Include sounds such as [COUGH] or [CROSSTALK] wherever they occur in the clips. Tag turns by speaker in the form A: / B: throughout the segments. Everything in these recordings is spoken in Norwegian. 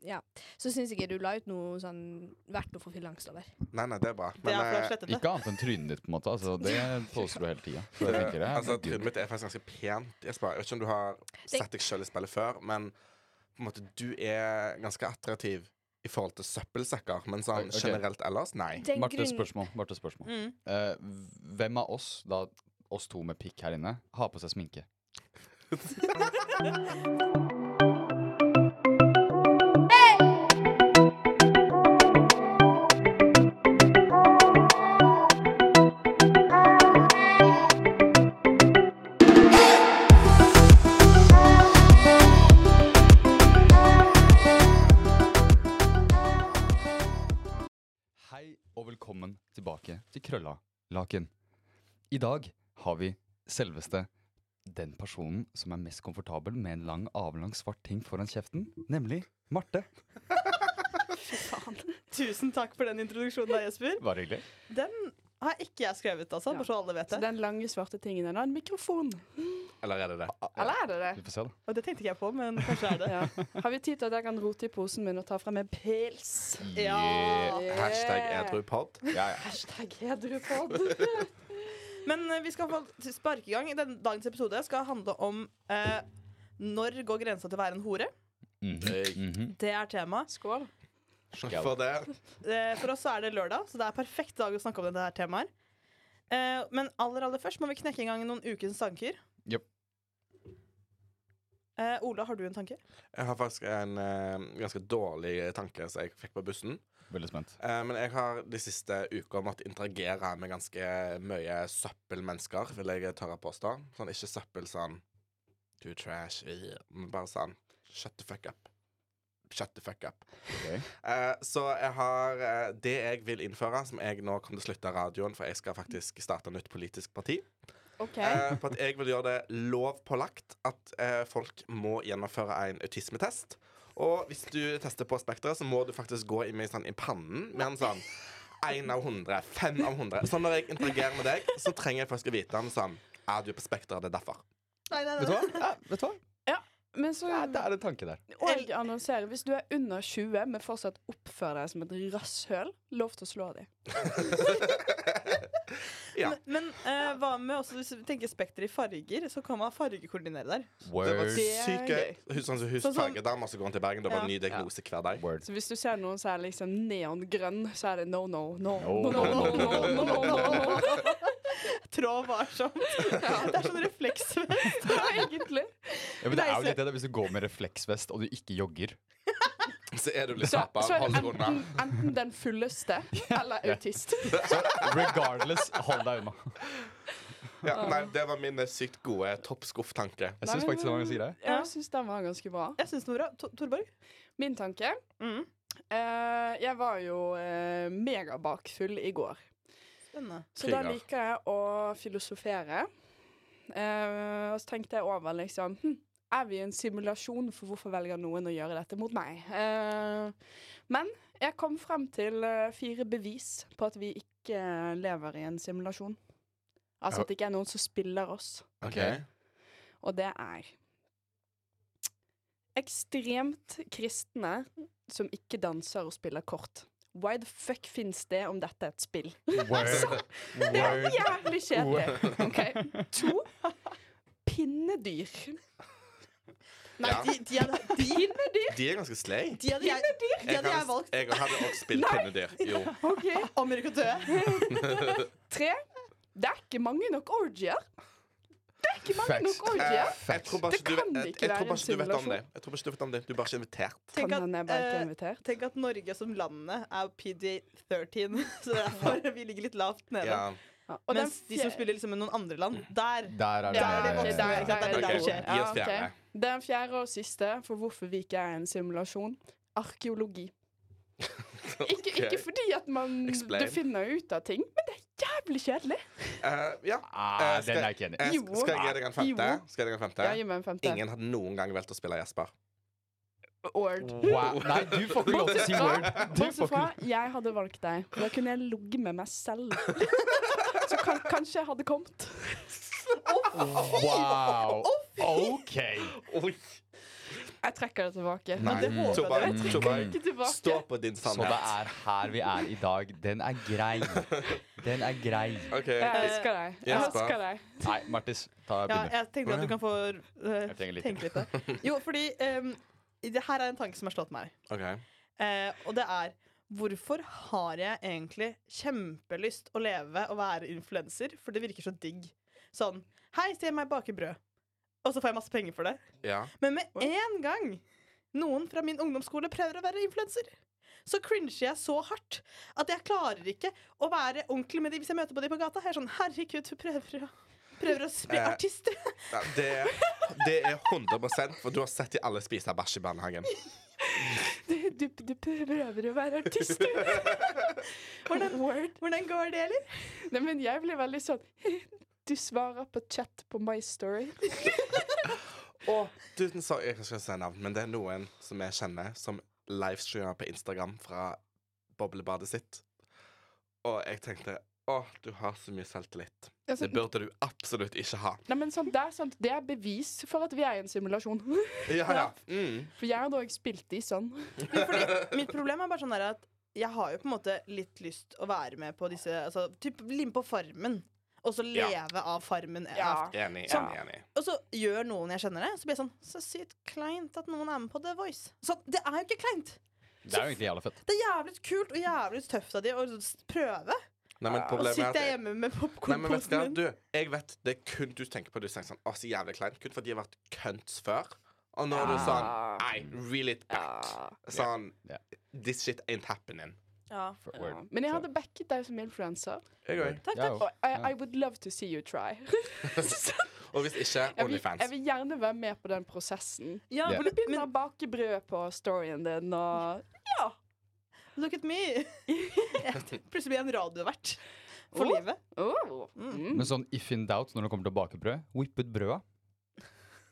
A: ja. Så syns jeg ikke du la ut noe sånn verdt å få fyllangst over.
B: Nei, nei, det er bra.
C: Det
B: Men
C: er for å
B: eh,
C: slette det.
D: Ikke annet enn trynet ditt, på en måte. Altså, det påstår du hele tida.
B: det,
D: Eh,
B: altså, trynet mitt er faktisk ganske pent, Jesper. Jeg vet ikke om du har sett deg sjøl i spillet før, men på en måte, du er ganske attraktiv i forhold til søppelsekker, men sånn
D: Ok.
B: generelt ellers, nei.
A: Den
D: Marte,
A: grunn- Mm.
D: spørsmål. Marte, spørsmål.
C: Mm.
D: Eh, hvem av oss, da oss to med pikk her inne, har på seg sminke? Hei og velkommen tilbake til Krølla Laken. I dag har vi selveste den personen som er mest komfortabel med en lang, avlang, svart ting foran kjeften, nemlig Marte.
C: Tusen takk for den introduksjonen der, Jesper.
D: Var det hyggelig?
C: Den har ikke jeg skrevet, altså,
E: Ja.
C: bare så alle vet
E: Så
C: det.
E: den lange, svarte tingen der, da, en mikrofon.
B: Eller er det det?
D: Ah,
E: Eller er det det?
D: Vi får se, da.
C: Og det tenkte ikke jeg på, men kanskje
D: [LAUGHS]
C: er det.
E: Ja. Har vi tid til at jeg kan rote i posen min og ta frem en pils?
C: Ja.
D: Yeah.
B: Hashtag edrupod.
D: Ja,
B: [LAUGHS]
D: ja.
E: Hashtag [LAUGHS] edrupod.
C: Men eh, vi skal få sparke i gang. Den dagens episode skal handle om eh, når går grensa til å være en hore?
D: Mhm, mhm.
C: Det er tema.
E: Skål.
B: For det.
C: Eh, for oss så er det lørdag, så det er perfekt dag å snakke om dette her temaet. Eh, men aller aller først må vi knekke i gang noen ukens tanker.
D: Jep.
C: Eh, Ola, har du en tanke?
B: Jeg har faktisk en eh, ganske dårlig tanke som jeg fikk på bussen.
D: Veldig spent.
B: Eh, men jeg har de siste ukene måttet interagere med ganske mye søppelmennesker, vil jeg tørre å påstå. Sånn, ikke søppel sånn Du er trash. øh», Men bare sånn Shut the fuck up. Shut the fuck up.
D: Ok.
B: Eh, så jeg har eh, Det jeg vil innføre, som jeg nå kommer til å slutte av radioen, for jeg skal faktisk starte nytt politisk parti,
E: OK.
B: eh, på at jeg vil gjøre det lovpålagt at eh, folk må gjennomføre en autismetest. Og hvis du tester på spekteret, så må du faktisk gå i, med sånn, i pannen med en sånn én av hundre, fem av hundre. Så når jeg interagerer med deg, så trenger jeg faktisk å vite om sånn Ja, du er på spekteret, det er derfor.
C: Nei, nei,
D: Vet du hva? Ja, vet du hva?
E: Men så
D: Ja, det er en tanke der.
E: Og annonserer hvis du er under 20, men fortsatt oppfører deg som et rasshøl, lov til å slå dem.
B: Ja.
C: Men eh, hva med også, hvis vi tenker spekter i farger, så kan man fargekoordinere der.
B: Det var
D: Word.
B: sykt gøy.
E: Det
B: Hun- Sånn som
C: Sånn som-
B: husfagedama som går rundt i Bergen. Det var en ny diagnose hver dag.
D: Word.
E: Så hvis du ser noen som er liksom neongrønn, så er det no, no, no.
D: No, no, no, no, no, no,
E: no, [LAUGHS] no.
C: Trå varsomt. Det er sånn
E: [LAUGHS]
C: refleksvest, egentlig.
D: Ja, men det er jo
C: Nei,
D: litt det da, Hvis du går med refleksvest og du ikke jogger
B: Så er du litt
E: Så,
B: tappa.
E: så er
B: Hold
E: det
B: deg unna.
E: enten, enten den fulleste eller autist.
D: Så regardless, hold deg unna.
B: Ja, nei, det var min eh, sykt gode toppskuff-tanke.
D: Jeg syns faktisk det var ganske greit.
E: Ja, Jeg syns den var ganske bra.
C: Jeg syns det var bra. Tor- Torborg?
E: Min tanke
C: Mm.
E: eh, Jeg var jo eh, megabakfull i går.
C: Spennende.
E: Så da
B: Kriger.
E: liker jeg å filosofere. Eh, og så tenkte jeg over, liksom hm, Er vi i en simulasjon, for hvorfor velger noen å gjøre dette mot meg? Eh, men jeg kom frem til eh, fire bevis på at vi ikke eh, lever i en simulasjon. Altså at det ikke er noen som spiller oss.
D: Ok.
E: Og det er ekstremt kristne som ikke danser og spiller kort. Why the fuck fins det om dette er et spill?
D: Word.
E: Det er
D: Word.
E: jævlig kjedelig. Ok, To pinnedyr.
C: Nei,
B: Ja.
C: de, de, hadde, de,
B: De er ganske slay.
C: de, hadde, jeg, de
B: Jeg
C: hadde jeg
B: hadde,
C: valgt.
B: jeg hadde også spilt pinnedyr. Jo.
C: [LAUGHS]
E: Ok,
C: Om dere kan dø.
E: Tre. Det er ikke mange nok orgier. Det er ikke mange
D: Facts.
E: nok
B: Eh,
E: orgier.
B: jeg tror bare
E: Det
B: ikke du,
E: kan
B: jeg, jeg
E: ikke være
B: tror bare
E: en
B: ikke du vet om
E: simulasjon.
B: det. Jeg tror bare ikke du vet om det. Du er bare ikke invitert.
C: Tenk
E: Kan
C: at,
E: han er bare
C: eh,
E: ikke invitert?
C: Tenk at Norge som landet er PG13, [LAUGHS] så derfor vi ligger litt lavt nede.
B: Ja.
E: Ja, og den
C: Mens de som
E: fjer-
C: spiller liksom med noen andre land, der
D: Der er det.
C: Der er det- der- der-
B: Ok,
C: der-
B: Gi
C: det
B: oss
C: skjer.
B: fjerde.
E: Ja, ok. Den fjerde og siste for hvorfor vi ikke er en simulasjon. Arkeologi.
B: [LAUGHS]
E: Ikke, ikke fordi at man
B: Explain.
E: du finner ut av ting, men det er jævlig kjedelig.
B: Eh, ja.
D: Ah, den er jeg ikke enig i.
B: Eh,
E: Jo.
B: skal jeg gi deg en femte?
E: Jo.
B: Skal jeg gi deg en
E: Ja,
B: femte?
E: gi meg en femte.
B: Ingen hadde noen gang valgt å spille Jesper.
E: Ord.
D: Wow. Nei, du får ikke lov til å si word. Du
E: Bortsett
D: får ikke
E: fra, jeg hadde valgt deg. for Da kunne jeg ligget med meg selv. Så kan, kanskje jeg hadde kommet.
D: Wow. OK.
E: Jeg trekker det tilbake.
B: Nei.
C: det håper jeg
B: Tobakk,
C: dere
E: Jeg trekker
B: tobakk.
E: ikke tilbake.
B: Stå på din
D: Så det
B: sannhet.
D: er her vi er i dag. Den er grei. Den er grei.
B: OK.
E: Jeg elsker deg. Jeg
B: Jesper.
E: elsker deg.
D: Nei, Martis, ta
C: Ja,
D: begynn.
C: jeg tenkte at du kan få eh,
D: Jeg trenger litt.
C: tenke litt. da. Jo, fordi em, det her er en tanke som har slått meg.
B: ok
C: Eh, og det er Hvorfor har jeg egentlig kjempelyst å leve og være influenser? For det virker så digg. Sånn Hei, se meg bake brød. Og så får jeg masse penger for det.
B: Ja.
C: Men med en gang noen fra min ungdomsskole prøver å være influenser, så cringer jeg så hardt at jeg klarer ikke å være ordentlig med de hvis jeg møter på de på gata. Jeg er sånn, herregud, du prøver å, prøver å bli
B: Eh.
C: artist.
B: Ja, det, det er 100 for du har sett de alle spise bæsj i barnehagen.
E: Du, du, du prøver å være artist.
B: [LAUGHS]
C: Hvordan,
E: Word.
C: hvordan går det, eller?
E: Nei, men jeg blir veldig sånn [LAUGHS] Du svarer på chat på My Story.
B: Og tusen sorry, jeg skal ikke si navn, men det er noen som jeg kjenner, som livestreamer på Instagram fra boblebadet sitt. Og jeg tenkte å, du har så mye selvtillit.
E: Ja,
B: Det
E: sånn,
B: burde du absolutt ikke ha.
E: nei, men sånn, det, er sant, det er bevis for at vi er i en simulasjon. [LAUGHS]
B: Ja, ja. Mm.
E: For jeg hadde òg spilt i sånn.
C: Jo, fordi mitt problem er bare sånn der at jeg har jo på en måte litt lyst å være med på disse altså, typ, Lim på Farmen. Og så leve
B: Ja.
C: av Farmen.
B: Enig,
C: Sånn.
B: enig, enig.
C: Og så gjør noen jeg kjenner det, så blir jeg sånn Så sykt kleint at noen er med på The Voice. Så det er jo ikke kleint!
D: Det er jo egentlig jævla fett.
C: Det er jævlig kult og jævlig tøft av de å s- prøve.
B: Nei, men
C: Og
B: problemet er
C: sitter
B: at
C: jeg
B: jeg,
C: hjemme
B: nei,
C: med
B: men vet du, hva,
C: popkornposen min.
B: du, jeg vet det er kun du tenker på du tenker sånn, å, så jævlig kleint. Kun fordi jeg har vært kønt før. Og nå
E: Ah.
B: er du sånn
E: Ja.
B: Nei, reel it back. Sånn
D: Ja.
B: This shit ain't happening.
C: Ja.
D: For
E: Ja.
D: word.
E: Men jeg hadde backet deg som influenser.
B: Jeg òg.
E: Takk,
D: Ja,
E: takk.
D: jo.
E: Og I,
D: Ja.
E: I would love to see you try.
B: [LAUGHS] Og hvis ikke,
E: Jeg vil, jeg
B: Onlyfans.
E: vil gjerne være med på den prosessen.
C: ja
D: Ja.
E: Du
C: men,
E: begynner
C: men
E: å bake brød på storyen din og
C: look at me!
B: [LAUGHS]
C: [LAUGHS] Plutselig blir jeg en radiovert for
E: Åh.
C: livet.
E: oh.
C: Mm.
E: mm.
D: Men sånn if in doubt når det kommer til å bake brød, whipp ut brøda.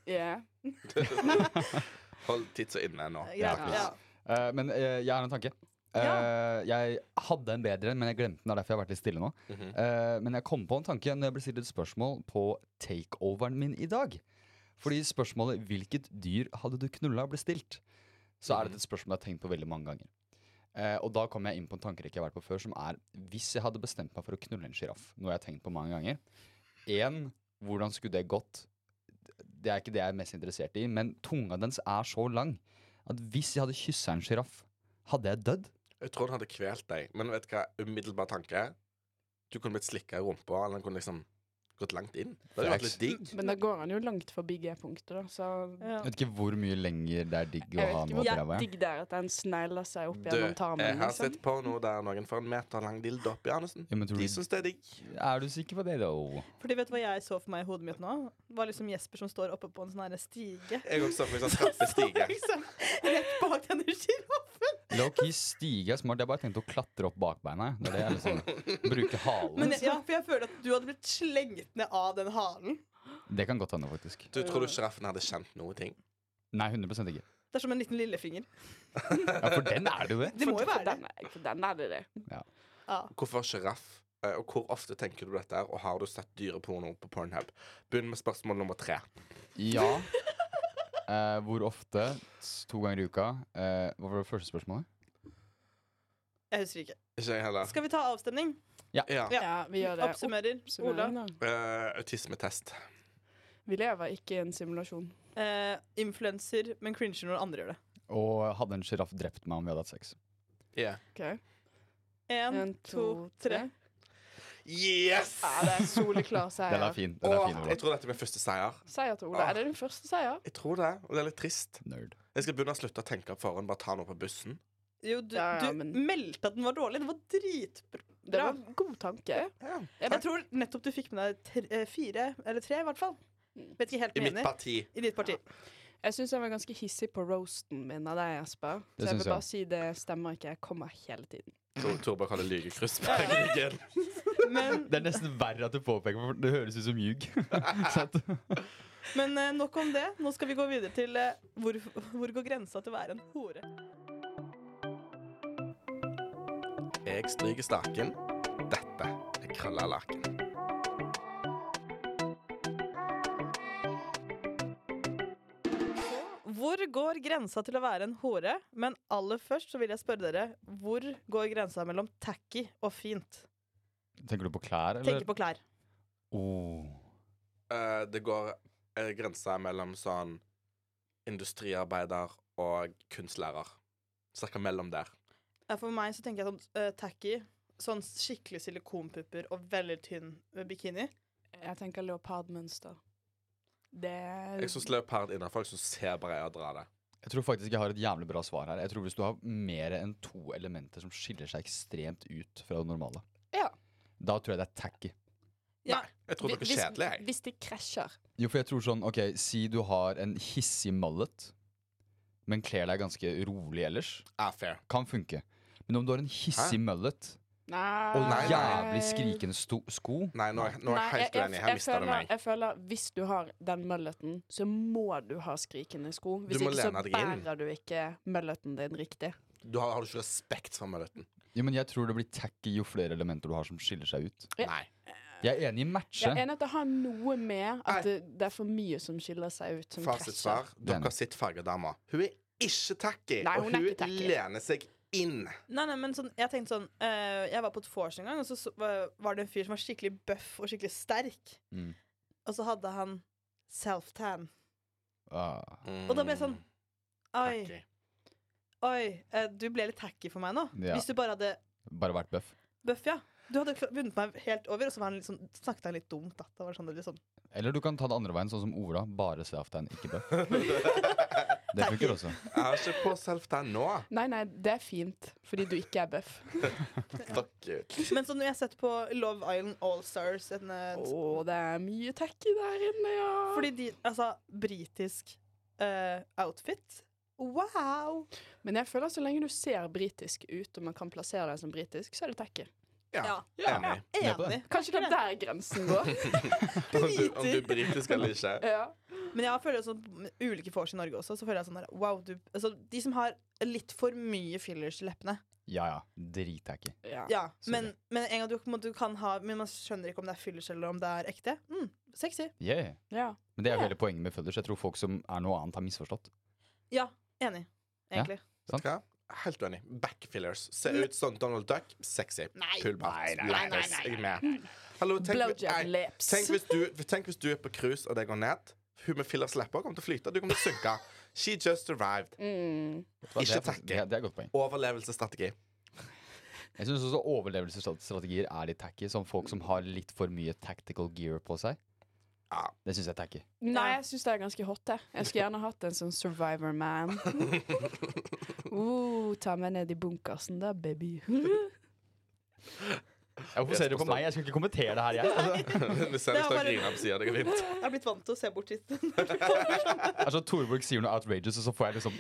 E: yeah. [LAUGHS]
B: Hold tidsa inne nå.
C: Ja,
D: Ja.
C: ja.
D: Eh, men eh, jeg har en tanke. Eh, Jeg hadde en bedre en, men jeg glemte den. Det er derfor jeg har vært litt stille nå.
B: Mhm.
D: Eh, men jeg kom på en tanke når jeg ble stilt et spørsmål på takeoveren min i dag. Fordi spørsmålet 'Hvilket dyr hadde du knulla?' ble stilt. Så er det et spørsmål jeg har tenkt på veldig mange ganger. Eh, og da kom jeg inn på en tankerekke jeg har vært på før, som er hvis jeg hadde bestemt meg for å knulle en sjiraff, noe jeg har tenkt på mange ganger Én, hvordan skulle det gått? Det er ikke det jeg er mest interessert i, men tunga dens er så lang at hvis jeg hadde kyssa en sjiraff, hadde jeg dødd?
B: Jeg tror den hadde kvelt deg, men vet du hva? Umiddelbar tanke. Du kunne blitt slikka i rumpa, eller den kunne liksom gått langt inn. Det hadde jo vært litt digg.
E: Men da går han jo langt forbi G-punktet, da, så
C: Ja.
D: Jeg vet ikke hvor mye lenger det er digg å
E: jeg
D: ha
E: vet
D: noe på
E: ikke hvor
D: ræva. jeg.
E: digg det er at han snegler seg opp
B: Du,
E: gjennom
B: jeg
E: tarmen.
B: har
E: Liksom.
B: sett porno der noen får en meter lang dildo oppi anusen.
D: Ja, men tror
B: De
D: du,
B: syns det er digg.
D: er du sikker på det, da?
C: Fordi vet du hva jeg så for meg i hodet mitt nå? Det var liksom Jesper som står oppe på en sånn her stige.
B: Jeg også får sånn trappestige.
C: Så [LAUGHS] liksom, rett bak denne giraffen.
D: Low-key stige er smart. Jeg bare tenkte å klatre opp bakbeina. jeg. Det er det jeg liksom Bruke halen.
C: Men jeg, ja, for jeg føler at du hadde blitt slengt ned av den halen.
D: Det kan godt hende, faktisk.
B: Du tror du sjiraffen hadde kjent noe ting?
D: Nei, 100 ikke.
C: Det er som en liten lillefinger.
D: Ja, For den er det jo det.
C: Det må jo
E: for, for,
C: være det.
E: den, er- for den er det det.
C: Ja.
B: Hvorfor sjiraff? Eh, Og hvor ofte tenker du dette, her? og har du sett dyreporno på Pornhub? Begynn med spørsmål nummer tre.
D: Ja. Eh, hvor ofte? S- To ganger i uka. Eh, hva var det første spørsmålet?
C: Jeg husker ikke.
B: Ikke jeg heller.
C: Skal vi ta avstemning?
B: Ja.
C: Ja.
E: Ja, vi gjør det.
C: Oppsummerer. Ola.
E: Oppsummering, da.
B: Eh, autismetest.
E: Vi lever ikke i en simulasjon.
C: Eh, Influenser, men cringer når andre gjør det.
D: Og hadde en sjiraff drept meg om vi hadde hatt sex?
B: Yeah.
E: ok?
C: Én, to, tre.
B: Yes!
E: Ja, det er
D: [LAUGHS]
E: soleklar
D: Den
E: seier.
D: er fin. Ah. Den er
B: Og
D: fin
B: jeg
D: Ola.
B: tror dette er min første seier.
E: Seier til Ola. Er det din første seier?
B: Jeg tror det, og det er litt trist.
D: Nerd.
B: Jeg skal begynne å slutte å tenke opp forhånd, bare ta noe på bussen.
C: Jo, du,
E: Ja, ja,
C: du
E: men-
C: meldte at den var dårlig. Den var dritbra.
E: Det var en god tanke.
B: Ja.
C: Jeg tror nettopp du fikk med deg tre, eh, fire, eller tre i hvert fall.
E: Mm.
C: Vet ikke helt
B: I
C: med
B: mitt
C: enig.
B: parti.
C: I ditt parti.
E: Jeg syns jeg var ganske hissig på roasten min av deg, Jesper.
D: Det
E: Så jeg
D: synes
E: vil
D: jeg
E: bare si det stemmer ikke. Jeg kommer hele tiden.
B: Tor- Torbjørn kaller lygekryss på ryggen.
C: Men
D: Det er nesten verre at du påpeker, for det høres ut som ljug. [LAUGHS] Sant?
C: Men eh, nok om det. Nå skal vi gå videre til eh, hvor, hvor går grensa til å være en hore?
B: Jeg stryker staken. Dette er krølla laken.
C: Hvor går grensa til å være en hore? Men aller først så vil jeg spørre dere, hvor går grensa mellom tacky og fint?
D: Tenker du på klær, eller?
C: Tenker på klær.
D: Oh.
B: Eh, det går eh, grensa mellom sånn industriarbeider og kunstlærer. Cirka mellom der.
C: Ja, For meg så tenker jeg sånn eh, tacky, sånn skikkelig silikonpupper og veldig tynn eh, bikini.
E: Jeg tenker leopardmønster. Det er
B: Jeg syns leopard innafor. Jeg syns sebra er å dra det.
D: Jeg tror faktisk jeg har et jævlig bra svar her. Jeg tror Hvis du har mer enn to elementer som skiller seg ekstremt ut fra det normale,
E: Ja.
D: da tror jeg det er tacky.
E: Ja.
B: Jeg tror dere er
E: Hvis-
B: kjedelige, jeg.
E: Hvis de krasjer.
D: Jo, for jeg tror sånn, ok, Si du har en hissig mallet, men kler deg ganske rolig ellers.
B: Ah, fair.
D: Kan funke. Men om du har en hissig mullet
E: Nei.
D: og
B: Nei, nei.
D: jævlig skrikende sto sko
B: Nei, nå, er- nå er jeg helt
E: jeg,
B: uenig. Her mista du
E: føler,
B: meg.
E: Jeg føler Hvis du har den mølleten, så må du ha skrikende sko. Hvis
B: må
E: ikke så
B: lene deg inn.
E: bærer du ikke mølleten din riktig.
B: Du har, har du ikke respekt for mølleten?
D: Jo, men Jeg tror det blir tacky jo flere elementer du har som skiller seg ut.
E: Ja.
B: Nei.
D: Jeg er enig i matche.
E: Jeg er enig at det har noe med
B: Nei.
E: at det, det er for mye som skiller seg ut. Som krasjer.
B: Fasitsvar. Dere
D: Den.
B: sitter fargedama. Hun er ikke tacky,
E: Nei, hun
B: og
E: er
B: hun
E: ikke tacky.
B: lener seg inn.
C: Nei, nei, men sånn, jeg tenkte sånn eh, Jeg var på et vors en gang, og så, så eh, var det en fyr som var skikkelig bøff og skikkelig sterk.
D: Mm.
C: Og så hadde han self-tan.
D: Ah.
C: Og da ble jeg sånn Oi,
B: Mm, Tacky.
C: oi, eh, du ble litt tacky for meg nå.
D: Ja.
C: Hvis du bare hadde
D: Bare vært bøff.
C: bøff, ja. Du hadde kla- vunnet meg helt over, og så var han litt sånn, snakket han litt dumt. Da. Det var sånn, det litt sånn
D: Eller du kan ta det andre veien, sånn som Ola. Bare self-tan, ikke [LAUGHS] bøff. Det funker også.
B: Jeg har ikke på self-tan nå.
E: [LAUGHS] Nei, nei, det er fint, fordi du ikke er
B: [LAUGHS]
E: bøff.
B: Fuck you.
C: Men sånn, jeg har sett på Love Island All Stars en, eh,
E: Å, det er mye tacky der inne, ja.
C: Fordi de Altså, britisk eh, outfit. Wow!
E: Men jeg føler så lenge du ser britisk ut, og man kan plassere deg som britisk, så er det tacky.
B: Ja, enig.
E: [LAUGHS]
D: Med på
C: Enig.
D: det.
E: Kanskje det er der grensen går.
B: [LAUGHS] Om du, om du er britisk eller ikke.
E: ja.
C: Men jeg føler sånn med ulike vors i Norge også. Så føler jeg sånn der, wow, du, altså, De som har litt for mye fillers i leppene.
D: Ja ja, dritacky.
E: Ja.
C: Ja,
D: sorry.
C: men, men en gang du, på en måte, du kan ha Men man skjønner ikke om det er fillers eller om det er ekte. Mm, sexy.
D: Yeah.
E: Ja.
D: Men det er jo
E: Ja.
D: hele poenget med fødders. Jeg tror folk som er noe annet, har misforstått.
C: Ja, enig. Egentlig.
B: Vet du hva? Helt uenig. Backfillers. Se ut som Donald Duck. Sexy. Pullbart. Lættis. Jeg er med. Hallo, tenk,
E: Blowjob
B: nei,
E: lips.
B: tenk, hvis du, tenk hvis du er på cruise, og det går ned. Hun med fillers lepper kommer til å flyte. Du kommer til å synke. She just arrived.
E: Mm.
D: Vet du
B: Ikke
D: hva, det er faktisk-
B: tacky.
D: Det, er- det er et godt poeng.
B: Overlevelsesstrategi. [LAUGHS]
D: Jeg syns også overlevelsesstrategier er litt tacky. Som folk som har litt for mye tactical gear på seg.
B: Ja.
D: Det syns jeg er tacky.
E: Nei, jeg syns det er ganske hot. Jeg, jeg skulle gjerne hatt en sånn survivor man. [LAUGHS] Uh, ta meg ned i bunkersen da, baby. [LAUGHS]
D: Jeg fokuserer på
B: forstår.
D: meg, jeg skal ikke kommentere det her, jeg. Altså,
B: Du ser
C: Det
B: ut
C: var
B: som
C: bare-
B: griner på sida. Det går fint.
C: Jeg har blitt vant til å se bort hit.
D: [LAUGHS]
C: [LAUGHS]
D: altså Torborg sier noe outrageous, og så får jeg liksom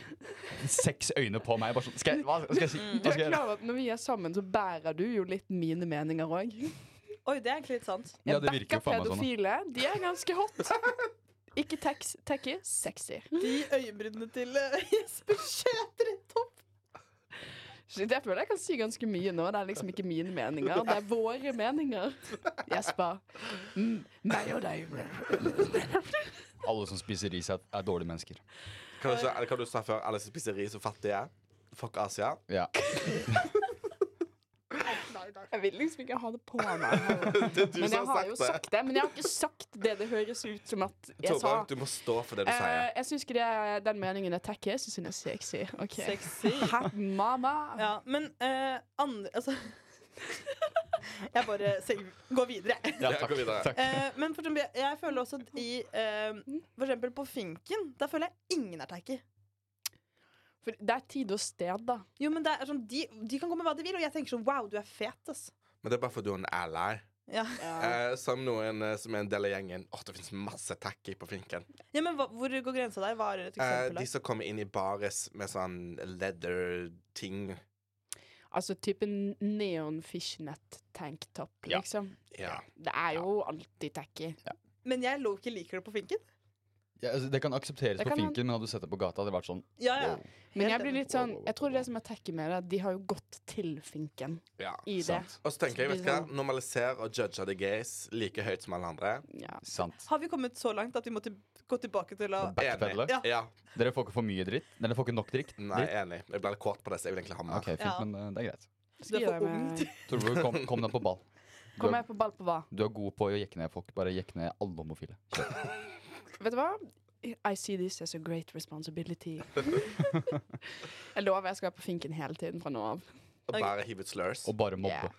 D: seks øyne på meg. Bare sånn, skal jeg, hva skal jeg si?
E: Du
D: Hva
E: er
D: skal jeg?
E: klar over at Når vi er sammen, så bærer du jo litt mine meninger òg.
C: Oi, det er egentlig litt sant.
D: Ja, det virker jo faen meg sånn. da.
E: pedofile. De er ganske [LAUGHS] hot. Ikke tax- tacky, sexy.
C: De øyenbrynene til eh, [LAUGHS] Jesper skjøt rett opp.
E: Shit, jeg føler jeg kan si ganske mye nå. Det er liksom ikke mine meninger, det er våre
D: [LAUGHS]
E: meninger. Jesper. Mm, meg og deg.
D: Alle som spiser ris, er, er dårlige mennesker.
B: Kan du, ikke- eller hva du sa før? Alle som spiser ris og fattige. Fuck Asia. [LAUGHS]
D: Ja.
E: Jeg vil liksom ikke ha det på meg. [LAUGHS] heller.
B: Det er du
E: Men jeg
B: som
E: har jo
B: har sagt det.
E: sagt det. Men jeg har ikke sagt det det høres ut som at jeg sa.
B: Torborg, du må stå for det du
E: Eh,
B: sier.
E: jeg syns ikke det er den meningen er tacky. Jeg syns hun er sexy. Ok.
C: Sexy.
E: Hot mama.
C: Ja, men eh, andre Altså [LAUGHS] Jeg bare ser, går videre, jeg.
B: Ja, gå videre.
C: Eh, men for eksempel, jeg føler også at i eh, For eksempel på finken, der føler jeg ingen er tacky.
E: For det er tid og sted, da.
C: Jo, men det er sånn, de, de kan gå med hva de vil, og jeg tenker sånn wow, du er fet, ass.
B: Men det er bare fordi du er en ally.
C: Ja,
B: Eh, som noen eh, som er en del av gjengen. Åh, det fins masse tacky på finken.
C: ja men hva, hvor går grensa der? Hva er et
B: Eh,
C: eksempel
B: de
C: der?
B: som kommer inn i bares med sånn leather-ting.
E: Altså type neon fishnet tanktop,
D: Ja.
E: liksom.
B: Ja.
E: Det er jo alltid tacky.
C: Men jeg lå ikke liker det på finken.
D: Ja, altså, det kan aksepteres
E: Det
D: på
E: kan man-
D: finken, men hadde du sett det på gata, hadde det vært sånn
C: Ja, ja.
D: wow.
E: Men
C: Helt
E: jeg blir
C: enig.
E: litt sånn Jeg tror det som er tacky med det, er at de har jo gått til finken
B: Ja.
E: i det.
D: Sant.
B: Og så tenker jeg, vet du hva, normalisere og judge the gays like høyt som alle andre.
E: Ja.
D: Sant.
C: Har vi kommet så langt at vi måtte gå tilbake til å
D: Backpedale.
C: Ja.
B: Ja.
D: Dere får ikke for mye dritt. Nei, Dere får ikke nok dritt.
B: Nei,
D: dritt.
B: enig. Jeg ble litt kåt på det, så jeg vil egentlig ha mer.
D: Ok, fint,
C: Ja.
D: men eh, det er greit.
C: Du er for ung til
D: Torbror, kom, kom deg på
E: [LAUGHS]
D: ball. Du
E: Kommer
D: er,
E: jeg på ball på hva?
D: du er god på å jekke ned folk. Bare jekke ned alle homofile.
E: Vet du hva? I see this as a great responsibility. jeg lover jeg skal være på finken hele tiden fra nå av.
B: Og bare hive ut slurs.
D: Og bare mobbe.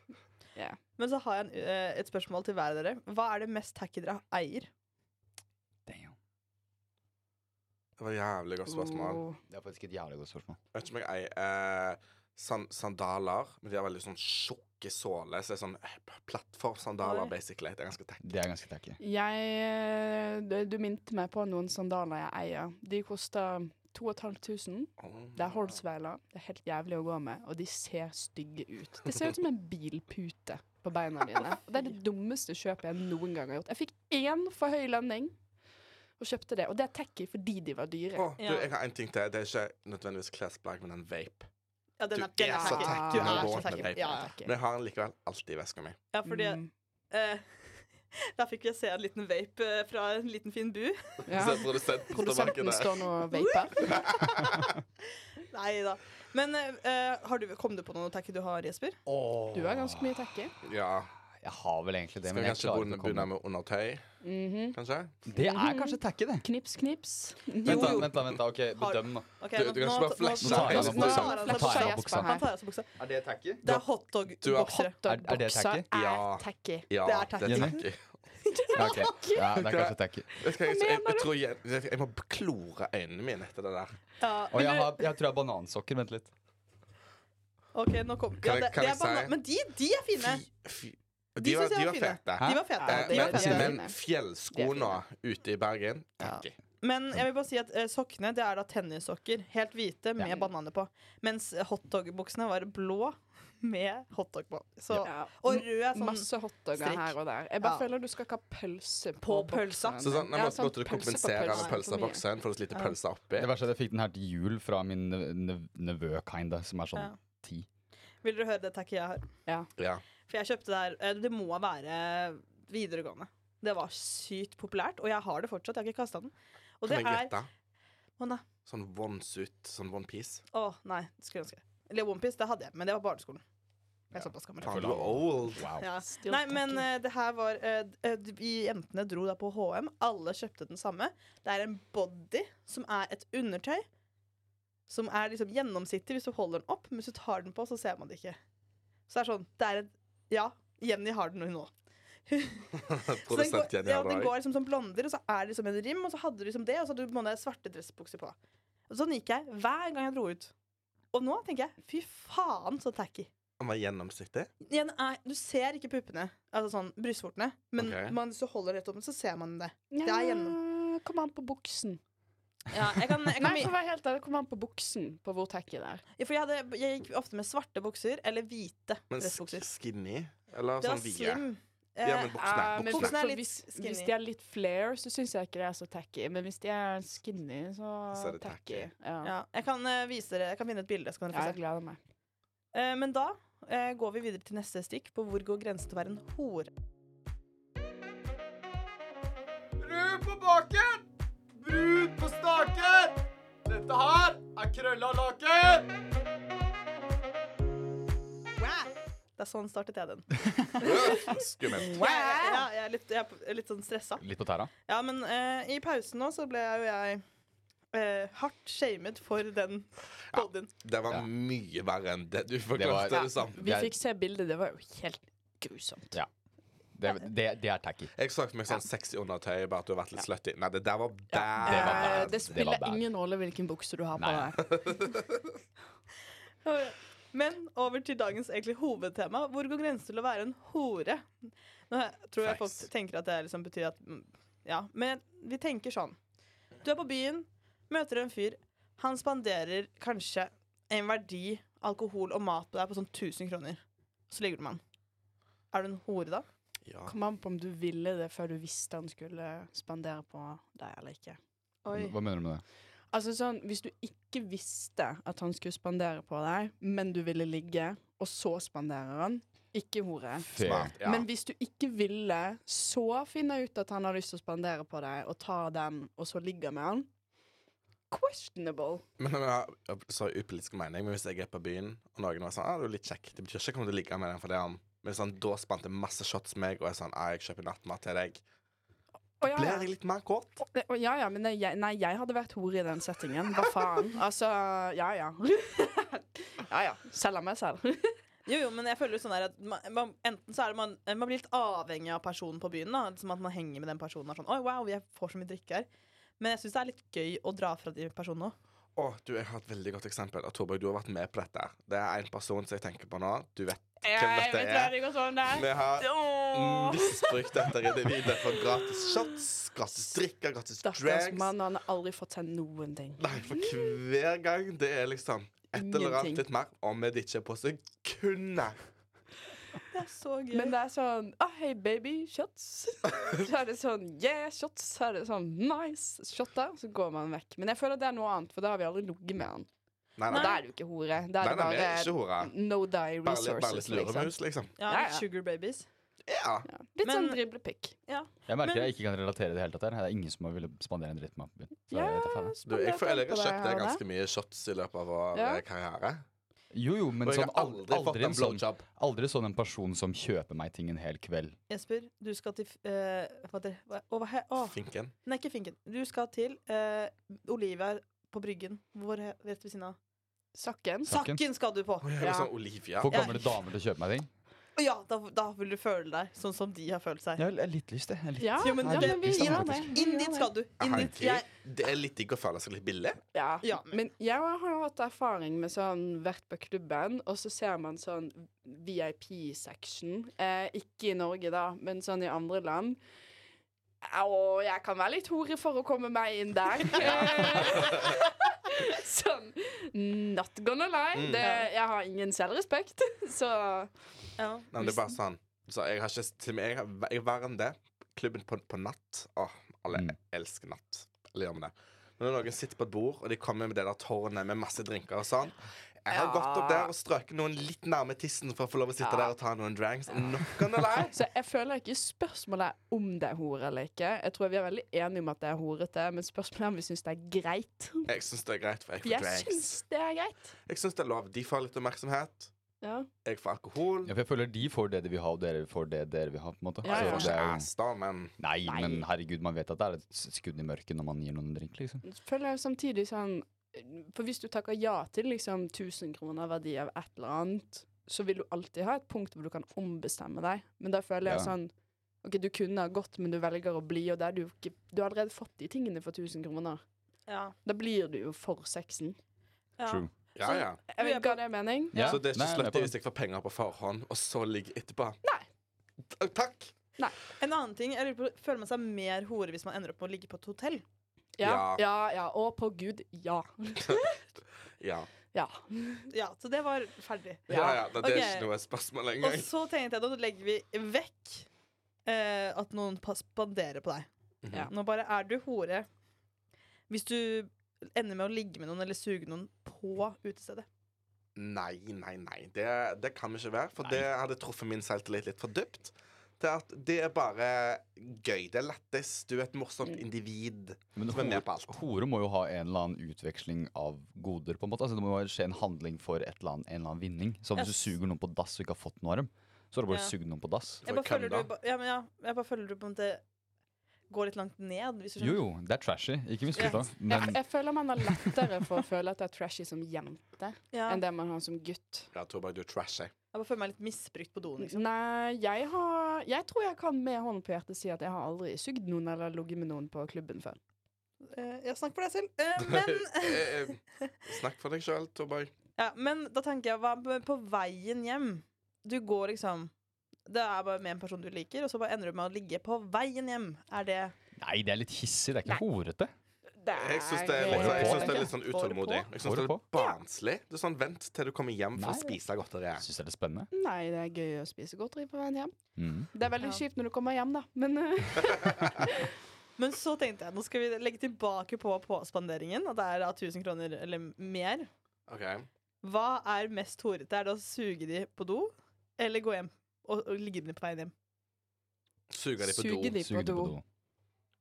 E: Yeah.
C: Men så har jeg en, eh, et spørsmål til hver av dere. Hva er det mest tacky dere eier?
D: Damn.
B: Det var et jævlig godt spørsmål.
E: Oh.
D: Det er faktisk et jævlig godt spørsmål.
B: Jeg vet ikke om jeg eier eh, san sandaler, men de har veldig sånn tjukke såler. Så det er sånn eh, plattformsandaler,
C: Oi.
B: basically. Det er ganske tacky.
D: Det er ganske tacky.
E: Jeg eh, Du minte meg på noen sandaler jeg eier. De koster 2500.
B: Åh.
E: Det er Holzweiler. Det er helt jævlig å gå med, og de ser stygge ut. Det ser ut som en bilpute på beina dine. Og det er det dummeste kjøpet jeg noen gang har gjort. Jeg fikk én for høy lønning og kjøpte det, og det er tacky fordi de var dyre.
B: Åh, du, jeg har en ting til. Det er ikke nødvendigvis klesplagg, men en vape.
C: Ja, den
B: Du
C: er, den
B: er
C: er
B: så
C: tacky.
B: tacky
C: Den
E: når du
C: er
E: går
C: så
E: med
C: tacky.
B: vape.
C: Ja, ja.
E: Tacky.
B: Men jeg har den likevel alltid i veska mi.
C: ja, fordi
E: Mm.
C: eh, [LAUGHS] Der fikk jeg se en liten vape eh, fra en liten fin bu.
E: Ja.
B: Så produsenten står bak i
E: Produsenten
B: det.
E: står nå og vaper.
C: [LAUGHS] Nei da. Men eh, har du, kom du på noe tacky du har, Jesper?
E: Du har ganske mye tacky.
B: Ja.
D: Jeg har vel egentlig det,
B: Skal
D: men
B: vi
D: jeg
B: kanskje
D: klarer
B: begynne
D: ikke å
B: begynne
D: komme
B: med undertøy,
E: Mhm.
B: kanskje?
D: Det er kanskje tacky, det.
E: Knips, knips.
D: Vent, da. vent da, vent da, ok,
C: Har-
D: Bedøm, da.
C: Ok,
B: Du-
C: nå-
B: du kan
C: nå-
B: ikke bare
C: nå-
B: flashe
C: nå-
B: deg
C: nå-
B: gjennom
C: nå
B: buksa.
C: tar han
E: Nå
C: seg
E: tar
C: buksa.
E: jeg av buksa.
C: Han tar av seg buksa.
D: Er det tacky?
C: Det er
B: Du har-
C: hotdog-boksere.
D: Er- er det
E: Hotdog-buksa
D: tacky?
B: Ja.
E: er tacky.
B: Ja,
C: Det er tacky.
B: Det er
D: Jenny?
B: tacky.
D: Ja, ok. ja, det er kanskje tacky.
B: Jeg, skal, jeg, jeg, jeg, tror jeg, jeg, jeg må klore øynene mine etter det der.
C: Ja,
D: Og
C: men
D: jeg,
C: du-
D: har, jeg tror jeg har banansokker. Vent litt.
C: OK, nå kom
B: Kan
C: ja,
B: jeg-
C: det,
B: kan
C: det
B: jeg
C: er banan,
B: si-
C: Men de, de er fine.
B: Fy, fy.
C: De
B: De, var,
C: synes jeg
B: de
C: var
B: var
C: fine.
B: fete.
D: Hæ?
C: De var fete.
B: Eh,
E: de
B: men,
E: var fine.
B: men fjellsko
E: De
B: nå,
E: er
B: ute i Bergen
E: Ja.
B: tacky.
C: Men jeg vil bare si at eh, sokkene det er da tennissokker. Helt hvite med
E: Ja.
C: bananer på. Mens hotdog-buksene var blå [LAUGHS] med hotdog på. Så,
E: Ja.
C: Og rød er sånn
E: Masse hotdoger
C: strikk.
E: her og der. Jeg
C: Ja.
E: bare føler du skal ikke ha pølse på,
C: På pølsa?
E: pølsa.
B: Så sånn, nei,
E: Ja,
B: måtte,
E: sånn
B: måtte du
E: pølse på
B: kompensere med
E: pølse.
B: pølser i boksen for å slite
E: Ja.
B: pølser oppi?
D: Det verste er at jeg fikk den her til jul fra min nev- nev- nevø, kinda, som er
C: Ja.
D: sånn ti.
C: Vil dere høre det taket jeg har?
B: Ja.
C: For jeg kjøpte det her. eh, Det må være videregående. Det var sykt populært, og jeg har det fortsatt. Jeg har ikke kasta den. Og
B: Kan
C: det
B: jeg
C: er
B: gjette?
C: Å nei.
B: Sånn onesuit, sånn onepiece.
C: Å, nei. Skulle ønske. Eller OnePiece, det hadde jeg, men det var barneskolen. Jeg er
D: Ja.
C: såpass gammel.
B: Faen, du er old.
D: Wow.
C: Ja.
E: Still
C: Nei, men
E: tacky.
C: eh, det her var eh, d- eh, d- Vi jentene dro da på HM. Alle kjøpte den samme. Det er en body som er et undertøy. Som er liksom gjennomsiktig hvis du holder den opp, men hvis du tar den på, så ser man det ikke. Så det er sånn det er en, Ja, Jenny har den, hun òg. Så den går,
B: Produsent Jenny
C: ja,
B: har
C: den
B: det òg.
C: går liksom som blonder, og så er det liksom en rim, og så hadde du liksom det, og så hadde du på en måte svarte dressbukser på. Og sånn gikk jeg hver gang jeg dro ut. Og nå tenker jeg fy faen så tacky.
B: Den var gjennomsiktig.
C: Igjen er, du ser ikke puppene, altså sånn brystvortene, men
B: Ok.
C: man, hvis du holder rett opp, så ser man det.
E: ja,
C: det er
E: Kom an på buksen.
C: Ja, jeg kan, jeg
E: Nei,
C: kan,
E: for å være helt ærlig, kom an på buksen, på hvor tacky det er.
C: for jeg, hadde, jeg gikk ofte med svarte bukser eller hvite
B: Men
C: dressbukser.
B: sk- skinny? Eller
C: Det
B: sånn
C: var
B: vide?
C: slim.
B: Ja, men
C: Eh,
B: buksene.
E: Eh, men
B: buksene.
C: Buksene er litt
E: hvis,
C: skinny.
E: hvis de er litt flair, så syns jeg ikke det er så tacky. Men hvis de er skinny, så,
B: Så er det
E: tacky.
B: tacky.
E: Ja.
C: ja, jeg kan eh, vise dere, jeg kan finne et bilde, så kan
E: Ja,
C: dere få
E: jeg
C: se.
E: gleder meg.
C: Eh, men da eh, går vi videre til neste stikk, på hvor går grensen til å være en hore.
F: Brun på baken, brun på staken. Dette her er krølla laken.
C: Det er sånn startet jeg den.
B: Skummelt.
C: Jeg, jeg, ja, jeg, er litt, jeg er litt sånn stressa.
D: Litt på tæra.
C: Ja, men eh, i pausen nå så ble jo jeg eh, hardt shamed for den bodyen.
B: Det var
D: Ja.
B: mye verre enn det du
D: var-
B: forklarte.
D: Ja.
B: Det samme.
E: Vi
D: Jeg-
E: fikk se bildet, det var jo helt grusomt.
D: Det, det, det er tacky.
B: Jeg så for meg sånn sexy undertøy, bare at du har vært litt slutty. Nei, det der var
D: Det var
B: bad.
E: Eh,
D: bad.
E: det spiller
D: Det var bad.
E: ingen rolle hvilken bukse du har på
D: Nei.
E: deg.
C: Men over til dagens egentlig hovedtema. Hvor går grensen til å være en hore? Nå he- tror jeg folk
D: Facts.
C: tenker at det liksom betyr at mm, Ja, men vi tenker sånn. Du er på byen, møter en fyr. Han spanderer kanskje en verdi alkohol og mat på deg på sånn 1000 kroner. Så ligger du med han. Er du en hore da?
B: Ja.
E: Kom an på om du ville det før du visste han skulle spandere på deg eller ikke. Oi.
D: Hva mener du med det?
E: Altså sånn, Hvis du ikke visste at han skulle spandere på deg, men du ville ligge, og så spanderer han Ikke hore.
B: Smart. Ja.
E: Men hvis du ikke ville, så finner ut at han har lyst til å spandere på deg, og tar den, og så ligger med han. Questionable.
B: Men, men, ja, sorry, upolitisk mening, men hvis jeg er på byen, og noen var sånn ah, 'Du er litt kjekk', det betyr ikke at jeg kommer til å ligge med den for det han Men sånn, da spant det masse shots meg, og jeg sånn 'Ah, jeg kjøper nattmat til deg'.
E: Å, ja,
B: Blir
E: ja.
B: jeg litt mer kåt?
E: Det- å, ja, ja, men det, jeg, nei, jeg hadde vært hore i den settingen. Hva
B: [LAUGHS]
E: faen? Altså, ja [LAUGHS] ja. ja ja. Selger meg selv.
C: Jo, jo, men jeg føler jo sånn der at man, man, enten så er det man, eh, man blir litt avhengig av personen på byen. da Som at man henger med den personen og er sånn Oi, wow, jeg får så mye drikke her. Men jeg syns det er litt gøy å dra fra de personene òg.
B: Å, du, jeg har et veldig godt eksempel. Og Torborg, du har vært med på dette. Det er en person som jeg tenker på nå. Du vet hvem dette er. mm,
E: det går sånn der.
B: Vi har misbrukt dette individet for gratis shots, gratis drikker, gratis
E: Stakkars
B: drags.
E: mann, han har aldri fått seg noen ting.
B: Nei, for hver gang det er liksom et eller
E: Ingenting.
B: annet litt mer om jeg ikke er på sekundet.
C: Det er så gøy.
E: Men det er sånn ah, Hei, baby,
B: [LAUGHS]
E: shots. Så er det sånn Yeah, shots. Så er det sånn Nice. Shot der. Så går man vekk. Men jeg føler det er noe annet, for da har vi aldri ligget med han.
B: Nei,
E: Og
B: nei.
E: da er det jo ikke hore. Da
B: Nei,
E: er det
B: nei, vi er ikke
E: bare
B: hora.
E: no die
B: Bare litt, bare
E: resources.
B: litt
E: Liksom.
B: luremus, liksom.
C: ja,
E: Ja, ja.
C: Sugar babies.
B: Ja.
E: Ja. Litt
C: Men-
E: sånn driblepikk.
D: Jeg merker
C: Men-
D: jeg ikke kan relatere i det hele tatt. her Det er ingen som har ville spandere en dritt med meg. Så
E: Ja.
D: jeg vet da faen, jeg.
B: Du, jeg føler jeg
E: På
B: har
E: deg,
B: kjøpt deg
E: Arne.
B: ganske mye shots i løpet av vår
E: Ja.
B: eh, karriere.
D: Jo, jo, men
B: Og jeg
D: sånn,
B: har
D: aldri,
B: aldri fått
D: aldri, en
B: en
D: sånn,
B: blowjob.
D: aldri sånn en person som kjøper meg ting en hel kveld.
C: Jesper, du skal til eh, hva heter det? Hva- Å, hva he- å,
B: Finken.
C: Nei, ikke Finken. Du skal til eh, Olivia på Bryggen. Hvor he- rett ved siden av?
E: Sakken.
D: Sakken.
C: Sakken skal du på!
B: Å, jeg var
E: Ja.
B: sånn Olivia.
D: Får
C: Ja.
D: gamle damer til å kjøpe meg ting?
C: Og ja, da, da vil du føle deg sånn som de har følt seg.
D: Jeg har litt lyst, jeg.
E: Ja,
C: Jo, men
E: ja,
C: det-
E: men vi
D: Kristian
E: gjør det.
D: faktisk.
E: Vi
C: Inn
E: gjør
C: dit
E: det.
C: skal du. Inn dit. Jeg,
B: Herregud, Det er litt digg å føle seg litt billig.
E: Ja.
C: Ja, men-
E: men, jeg har hatt erfaring med sånn vært på klubben, og så ser man sånn VIP-section. Eh, ikke i Norge, da, men sånn i andre land. Og jeg kan være litt hore for å komme meg inn [LAUGHS] der. Eh, sånn Not gonna lie.
B: Mm.
E: Det, jeg har ingen selvrespekt, [LAUGHS] så
C: ja.
B: Nei, men det er bare sånn Så jeg har ikke til meg, jeg, har- jeg er verre enn det. Klubben på, på natt. Åh, alle
D: Mm.
B: elsker natt. Eller gjør vi det? Men når noen sitter på et bord, og de kommer med det der tårnet med masse drinker og sånn Jeg har
E: Ja.
B: gått opp der og strøket noen litt nærme tissen for å få lov å sitte
E: Ja.
B: der og ta noen dranks. Not gonna lie.
E: Så jeg føler ikke spørsmålet er om det er hore eller ikke. Jeg tror vi er veldig enige om at det er horete, men spørsmålet er om vi syns det er greit.
B: Jeg syns det er greit, for jeg får
E: Jeg
B: drinks.
E: syns det er greit.
B: Jeg syns det er lov. De får litt oppmerksomhet.
E: Ja.
B: Jeg får alkohol.
D: Ja, for jeg føler de får det de vil ha, og dere får det dere vil ha. på en måte
E: Ja,
B: Jeg
E: ja.
B: får
D: Så det
B: ikke
D: er jo-
B: ass, da, men
D: Nei,
E: Nei.
D: men herregud, man vet at det er et skudd i mørket når man gir noen en drink, liksom.
E: føler jeg samtidig sånn For hvis du takker ja til liksom 1000 kroner verdi av et eller annet, så vil du alltid ha et punkt hvor du kan ombestemme deg. Men da føler jeg
D: Ja.
E: sånn OK, du kunne ha gått, men du velger å bli, og da er du jo ikke Du har allerede fått de tingene for 1000 kroner.
C: Ja.
E: Da blir du jo for sexen.
C: Ja.
D: True.
B: ja,
C: Så-
B: ja.
E: Jeg vet ikke hva det er mening.
C: Ja.
B: Så det er ikke
D: Nei, jeg
B: slutty
D: er på
B: hvis jeg får penger på forhånd, og så ligger etterpå.
E: Nei.
B: T- Takk.
C: En annen ting, jeg lurer på, Føler man seg mer hore hvis man ender opp med å ligge på et hotell?
E: Ja,
B: Ja.
E: ja. ja. Å, på gud, ja.
B: Ja.
E: Ja.
C: Ja, Så det var ferdig.
B: Ja, ja. Det, det er
C: Ok.
B: ikke noe spørsmål
C: Og
B: engang.
C: så tenkte jeg da legger vi vekk eh, at noen pas- spanderer på deg.
B: Mhm.
E: Ja.
C: Nå bare er du hore hvis du ender med å ligge med noen eller suge noen på utestedet.
B: Nei, nei, nei. Det, det kan vi ikke være, for
D: Nei.
B: det hadde truffet min selvtillit litt for dypt. Til at det er bare gøy. Det er lættis. Du er et morsomt
C: Mm.
B: individ.
D: Men
B: Som er med på
D: hore,
B: alt.
D: hore må jo ha en eller annen utveksling av goder, på en måte. Altså, det må jo skje en handling for et eller annet, en eller annen vinning. Så hvis
C: Yes.
D: du suger noen på dass og ikke har fått noe av dem, så har du bare
C: Ja.
D: sugd noen på dass.
C: Jeg
B: For
C: bare føler
B: hvem
C: du, ba- ja, men ja, jeg bare føler du på en måte går litt langt ned, hvis du
D: Jo,
C: skjønner.
D: jo, det er trashy. Ikke misforstå.
E: Jeg,
D: Men
E: jeg føler man har lettere for å føle at det er trashy som jente,
C: Ja,
E: enn det man har som gutt.
B: Ja, tror bare du er trashy.
C: jeg bare føler meg litt misbrukt på
E: Mm.
C: doen, liksom.
E: Nei, jeg har Jeg tror jeg kan med hånden på hjertet si at jeg har aldri sugd noen eller ligget med noen på klubben før.
C: Eh, jeg snakker for deg selv. Eh, men,
B: [LAUGHS] Eh, eh, Snakk for deg sjøl, Torborg.
C: ja, men da tenker jeg, hva med på veien hjem? Du går liksom Det er bare med en person du liker, og så bare ender du med å ligge på veien hjem. Er det
D: nei, det er litt hissig. Det er
E: Nei.
D: ikke horete.
E: Det
B: Jeg syns det, er litt-
D: Får det på,
B: jeg synes det
D: tenker
B: er litt sånn
C: Får det på?
B: utålmodig. Jeg synes
D: Får
B: det
D: det
B: er litt barnslig. Det er sånn, Vent til du kommer hjem for å
D: Nei.
B: spise godteri.
D: Jeg syns det er litt spennende.
E: Nei, det er gøy å spise godteri på veien hjem.
D: Mm.
E: Det er veldig
C: Ja.
E: kjipt når du kommer hjem, da, men eh,
C: Men så tenkte jeg, nå skal vi legge tilbake på påspanderingen, at det er da 1000 kroner eller mer.
B: OK.
C: Hva er mest horete? Er det å suge de på do, eller gå hjem? Og, og ligge med de på veien hjem.
B: Suger de på
E: Suger
B: do.
E: de på
D: Suger det
E: do.
D: på do.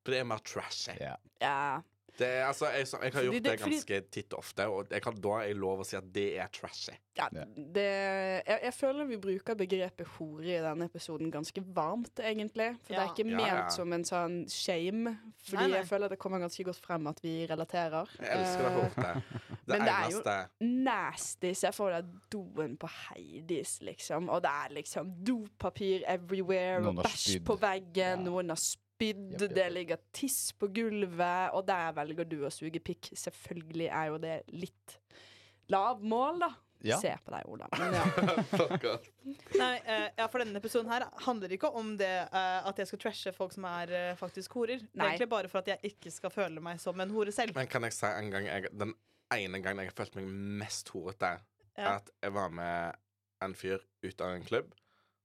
B: Det er mer trashy.
D: Ja.
E: Ja.
B: Det er, altså, jeg, som- jeg har
E: Fordi
B: gjort
E: det-
B: det ganske titt og ofte, og jeg kan, da er jeg lov å si at det er trashy.
E: ja
D: Ja.
E: det, jeg, jeg føler vi bruker begrepet hore i denne episoden ganske varmt, egentlig. For det
C: Ja.
E: er ikke
B: Ja,
E: ment
B: ja.
E: som en sånn shame, fordi
C: Nei, nei.
E: jeg føler det kommer ganske godt frem at vi relaterer.
B: Jeg elsker det
E: Eh,
B: håpet. Det
E: men det er jo-
B: eneste [LAUGHS]
E: nasty. Se for deg doen på Heidis, liksom. Og det er liksom dopapir everywhere,
D: Noen har
E: og bæsj
D: spydd.
E: på veggen,
D: Ja.
E: noen har spydd,
D: Jepp, jepp,
E: det
D: jepp.
E: ligger tiss på gulvet, og der velger du å suge pikk. Selvfølgelig er jo det litt lav mål, da.
D: Ja.
E: Se på deg, Ola. Men ja.
B: Fuck off.
C: Nei, eh, ja, For denne episoden her handler ikke om det eh, at jeg skal trashe folk som er eh, faktisk horer. Det er
E: Nei.
C: egentlig bare for at jeg ikke skal føle meg som en hore selv.
B: Men kan jeg si en gang jeg, den ene gangen jeg har følt meg mest horete,
C: Ja.
B: at jeg var med en fyr ut av en klubb,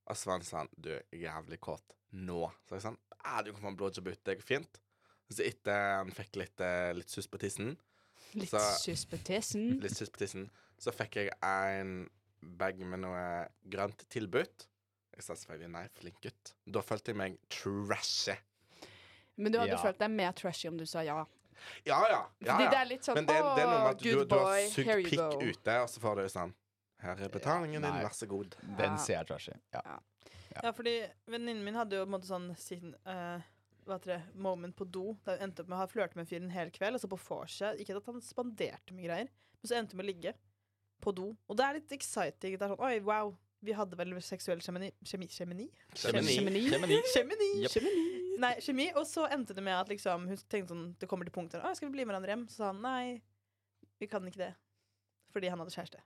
B: og så var han sånn Du, jeg er jævlig kåt nå. Så jeg sånn Ja, du kan få en blowjob ut, det går fint. Så etter han fikk litt, eh, litt suss på tissen,
E: Litt
B: Så-
E: suss på
B: [LAUGHS]
E: tissen.
B: litt suss på tissen, så fikk jeg en bag med noe grønt tilbudt. Jeg sa selvfølgelig nei, flink gutt. Da følte jeg meg trashy.
E: Men du hadde
D: Ja.
E: følt deg mer trashy om du sa ja.
B: Ja, ja. ja,
E: Fordi det
B: ja.
E: er litt sånn
B: Men det, det er noe med
E: Åh,
B: at du,
E: good
B: du har
E: boy, here
B: sugd
E: you
B: pikk
E: go.
B: ute, og så får du sånn Her er betalingen din,
D: Nei.
B: vær så god.
E: Ja.
D: Den ser jeg trashy. Ja.
C: Ja, fordi venninnen min hadde jo på en måte sånn sin eh, hva heter det, moment på do. Da hun endte opp med å ha flørte med en fyr en hel kveld. Altså på vorset. Ikke at han spanderte mye greier, men så endte hun med å ligge på do. Og det er litt exciting. Det er sånn Oi, wow. Vi hadde vel seksuell kjemini Kjemi... Kjemini?
B: Kjemini.
E: Kjemini.
D: Kjemini.
C: kjemini.
D: Jepp.
C: Nei, kjemi. Og så endte det med at liksom, hun tenkte sånn Det kommer til punktet Å, skal vi bli med hverandre hjem? Så sa han nei, vi kan ikke det. Fordi han hadde kjæreste.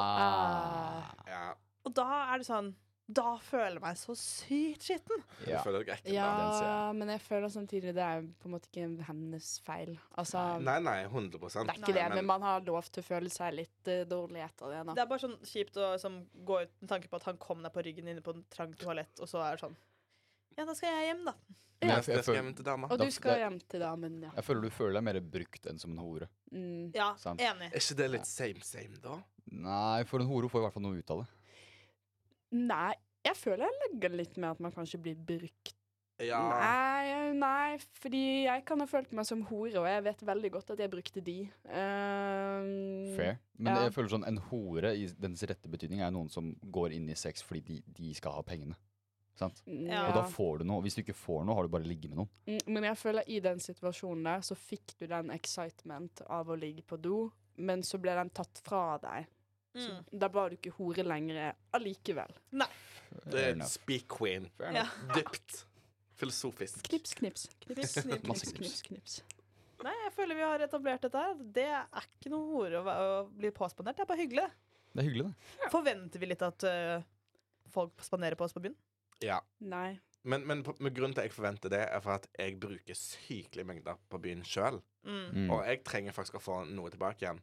D: Ah.
B: Ja,
C: Og da er det sånn Da føler jeg meg så sykt skitten.
B: du
D: Ja.
B: føler deg ekkel
E: Ja,
D: den ser jeg.
E: men jeg føler samtidig det er på en måte ikke hennes feil. Altså,
B: da. Nei, nei, 100
E: det er ikke det,
B: men-
E: men man har lov til å føle seg litt eh, dårlig etter
C: Det
E: det. Da.
C: er bare sånn kjipt å som, gå ut med tanke på at han kom deg på ryggen inne på en trang toalett, og så er det sånn Ja, da skal jeg hjem, da.
B: Men
D: Ja.
B: jeg skal jeg skal hjem til dama.
E: Og
D: Da-
E: du skal
D: det-
E: hjem til damen, ja.
D: Jeg føler du føler deg mer brukt enn som en hore.
E: Mm.
C: Ja,
D: Sant.
C: enig.
B: Er ikke det litt same same, da?
D: Nei, for en hore får i hvert fall noe ut av det.
E: Nei, jeg føler jeg legger litt med at man kanskje blir brukt.
B: Ja.
E: Nei, nei, fordi jeg kan ha følt meg som hore, og jeg vet veldig godt at jeg brukte de. Ehm,
D: Fair. Men
E: Ja.
D: jeg føler sånn, en hore i dens rette betydning er noen som går inn i sex fordi de, de skal ha pengene. Sant?
E: mm,
C: Ja.
D: Og da
E: ja.
D: får du noe. Hvis du ikke får noe, har du bare ligget med noen.
E: Mm, Men jeg føler i den situasjonen der, så fikk du den excitement av å ligge på do, men så ble den tatt fra deg. Så
C: Mm.
E: Da var du ikke hore lenger allikevel.
B: Det
D: Fair
B: er
D: enough.
B: speak queen.
D: Fair
C: Ja.
D: enough.
B: Dypt. Filosofisk.
E: Knips, knips. Knips, knips,
D: Masse
E: knips, knips,
D: knips.
E: knips.
C: Nei, jeg føler vi har etablert dette her. Det er ikke noe hore å, væ- å bli påspandert. Det er bare hyggelig.
D: Det er hyggelig, det.
C: Forventer vi litt at øh, folk spanderer på oss på byen?
B: Ja.
E: Nei.
B: Men, men på, med grunnen til at jeg forventer det, er for at jeg bruker sykelige mengder på byen sjøl.
C: Mm.
D: Mm.
B: Og jeg trenger faktisk å få noe tilbake igjen.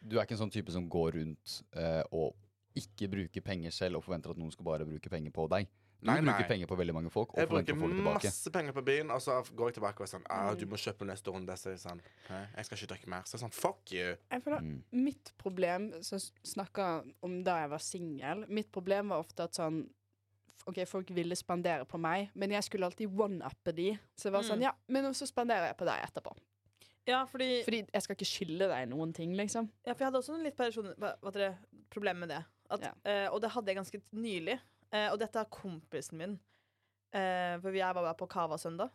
D: Du er ikke en sånn type som går rundt eh, og ikke bruker penger selv og forventer at noen skal bare bruke penger på deg. Du
B: Nei,
D: bruker
B: nei.
D: penger på veldig mange folk og
B: Jeg bruker
D: forventer å få det tilbake.
B: masse penger på byen, og så går jeg tilbake og er sånn ah,
E: Mm.
B: 'Du må kjøpe neste runde.' Så er jeg sånn «Hæ? 'Jeg skal ikke drikke mer.' Så er jeg sånn 'Fuck you'.
E: Jeg føler
D: Mm.
E: mitt problem, som snakka om da jeg var singel Mitt problem var ofte at sånn f- OK, folk ville spandere på meg, men jeg skulle alltid one-uppe de. Så det var sånn,
C: Mm.
E: ja, men så spanderer jeg på deg etterpå.
C: Ja, fordi,
E: Fordi jeg skal ikke skylde deg noen ting, liksom.
C: ja, for jeg hadde også en litt person, hva, hva heter det, problem med det. At, øh, og det hadde jeg ganske nylig. Eh, og dette er kompisen min. Eh, for jeg var bare på Cava søndag.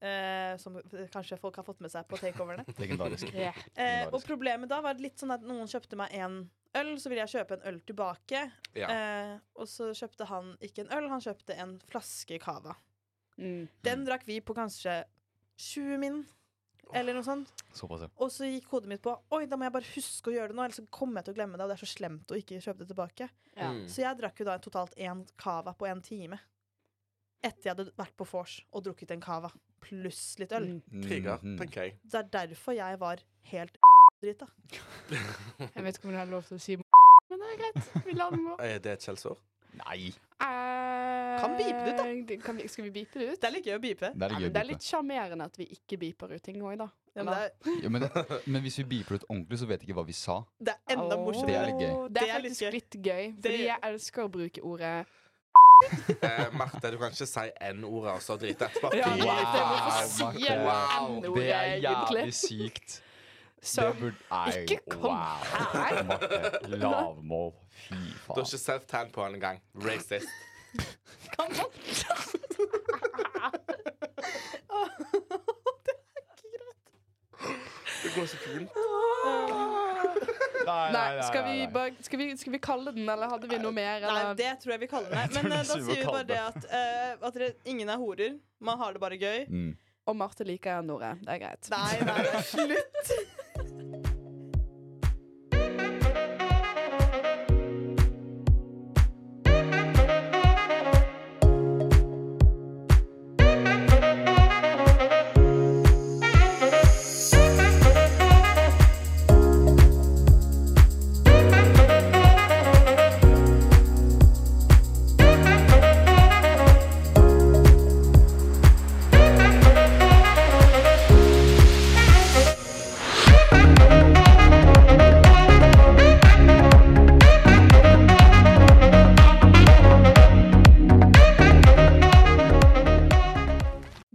C: Eh, som kanskje folk har fått med seg på takeoverne.
D: Legendarisk.
C: Eh, og
D: Legendarisk.
C: problemet da var litt sånn at noen kjøpte meg en øl, så ville jeg kjøpe en øl tilbake.
B: Ja.
C: Eh, og så kjøpte han ikke en øl, han kjøpte en flaske cava.
E: Mm.
C: Den drakk vi på kanskje 20 min, eller noe sånt.
D: Såpass, ja.
C: Og så gikk hodet mitt på Oi, da må jeg bare huske å gjøre det nå, ellers så kommer jeg til å glemme det, og det er så slemt å ikke kjøpe det tilbake.
E: Ja.
B: Mm.
C: Så jeg drakk jo da totalt én cava på én time. Etter jeg hadde vært på vors og drukket en cava pluss litt øl.
E: Mm.
B: Kriger,
D: Mhm.
B: tenker jeg.
C: Det er derfor jeg var helt drita.
E: Jeg vet ikke om du har lov til å si men det er greit. Vi lar den gå.
C: [LAUGHS]
B: Er det et skjellsord?
D: Nei.
E: Kan
C: beepe det ut,
E: da. Eh, Kan vi, skal vi beepe det ut?
C: Det er litt gøy å beepe.
D: Det er
E: Ja,
D: litt
E: men
D: gøy å
E: det er
D: beepe.
E: litt sjarmerende at vi ikke beeper ut ting òg, da.
C: Ja, men det, er,
D: Ja, men, men hvis vi beeper ut ordentlig, så vet jeg ikke hva vi sa.
C: det er enda morsommere.
D: Det er litt gøy.
E: Det
C: Det
E: er
C: er litt
E: faktisk
C: gøy.
E: litt gøy, fordi
C: Det-
E: jeg elsker å bruke ordet
B: Eh, Marte, du kan ikke si N-ordet og så drite etterpå.
E: Ja,
D: Wow,
E: men Marte, hvorfor
D: Marte.
E: sier du
B: Wow,
E: N-ordet,
D: Det er jævlig
E: egentlig?
D: sykt.
E: Så
D: det burde Nei,
E: ikke kom her.
D: wow. Marte, lavmål. Fy
B: Du har
D: faen.
B: ikke self-tan på han engang. Racist.
C: Kan man?
B: Det går så fint.
E: Nei, skal vi, bare, skal, vi, skal vi kalle den, eller hadde vi noe mer?
C: Nei,
E: Eller?
C: det tror jeg vi kaller det. Men eh, da
D: tror vi
C: sier vi
D: må
C: bare
D: kalle
C: det at, eh, at dere, ingen er horer. Man har det bare gøy.
D: Mm.
E: Og Marte liker N-ordet. Det er greit.
C: Nei, nei, nei, slutt.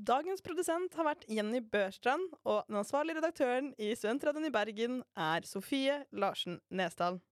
C: Dagens produsent har vært Jenny Børstrand, og den ansvarlige redaktøren i Studentradioen i Bergen er Sofie Larsen Nesdal.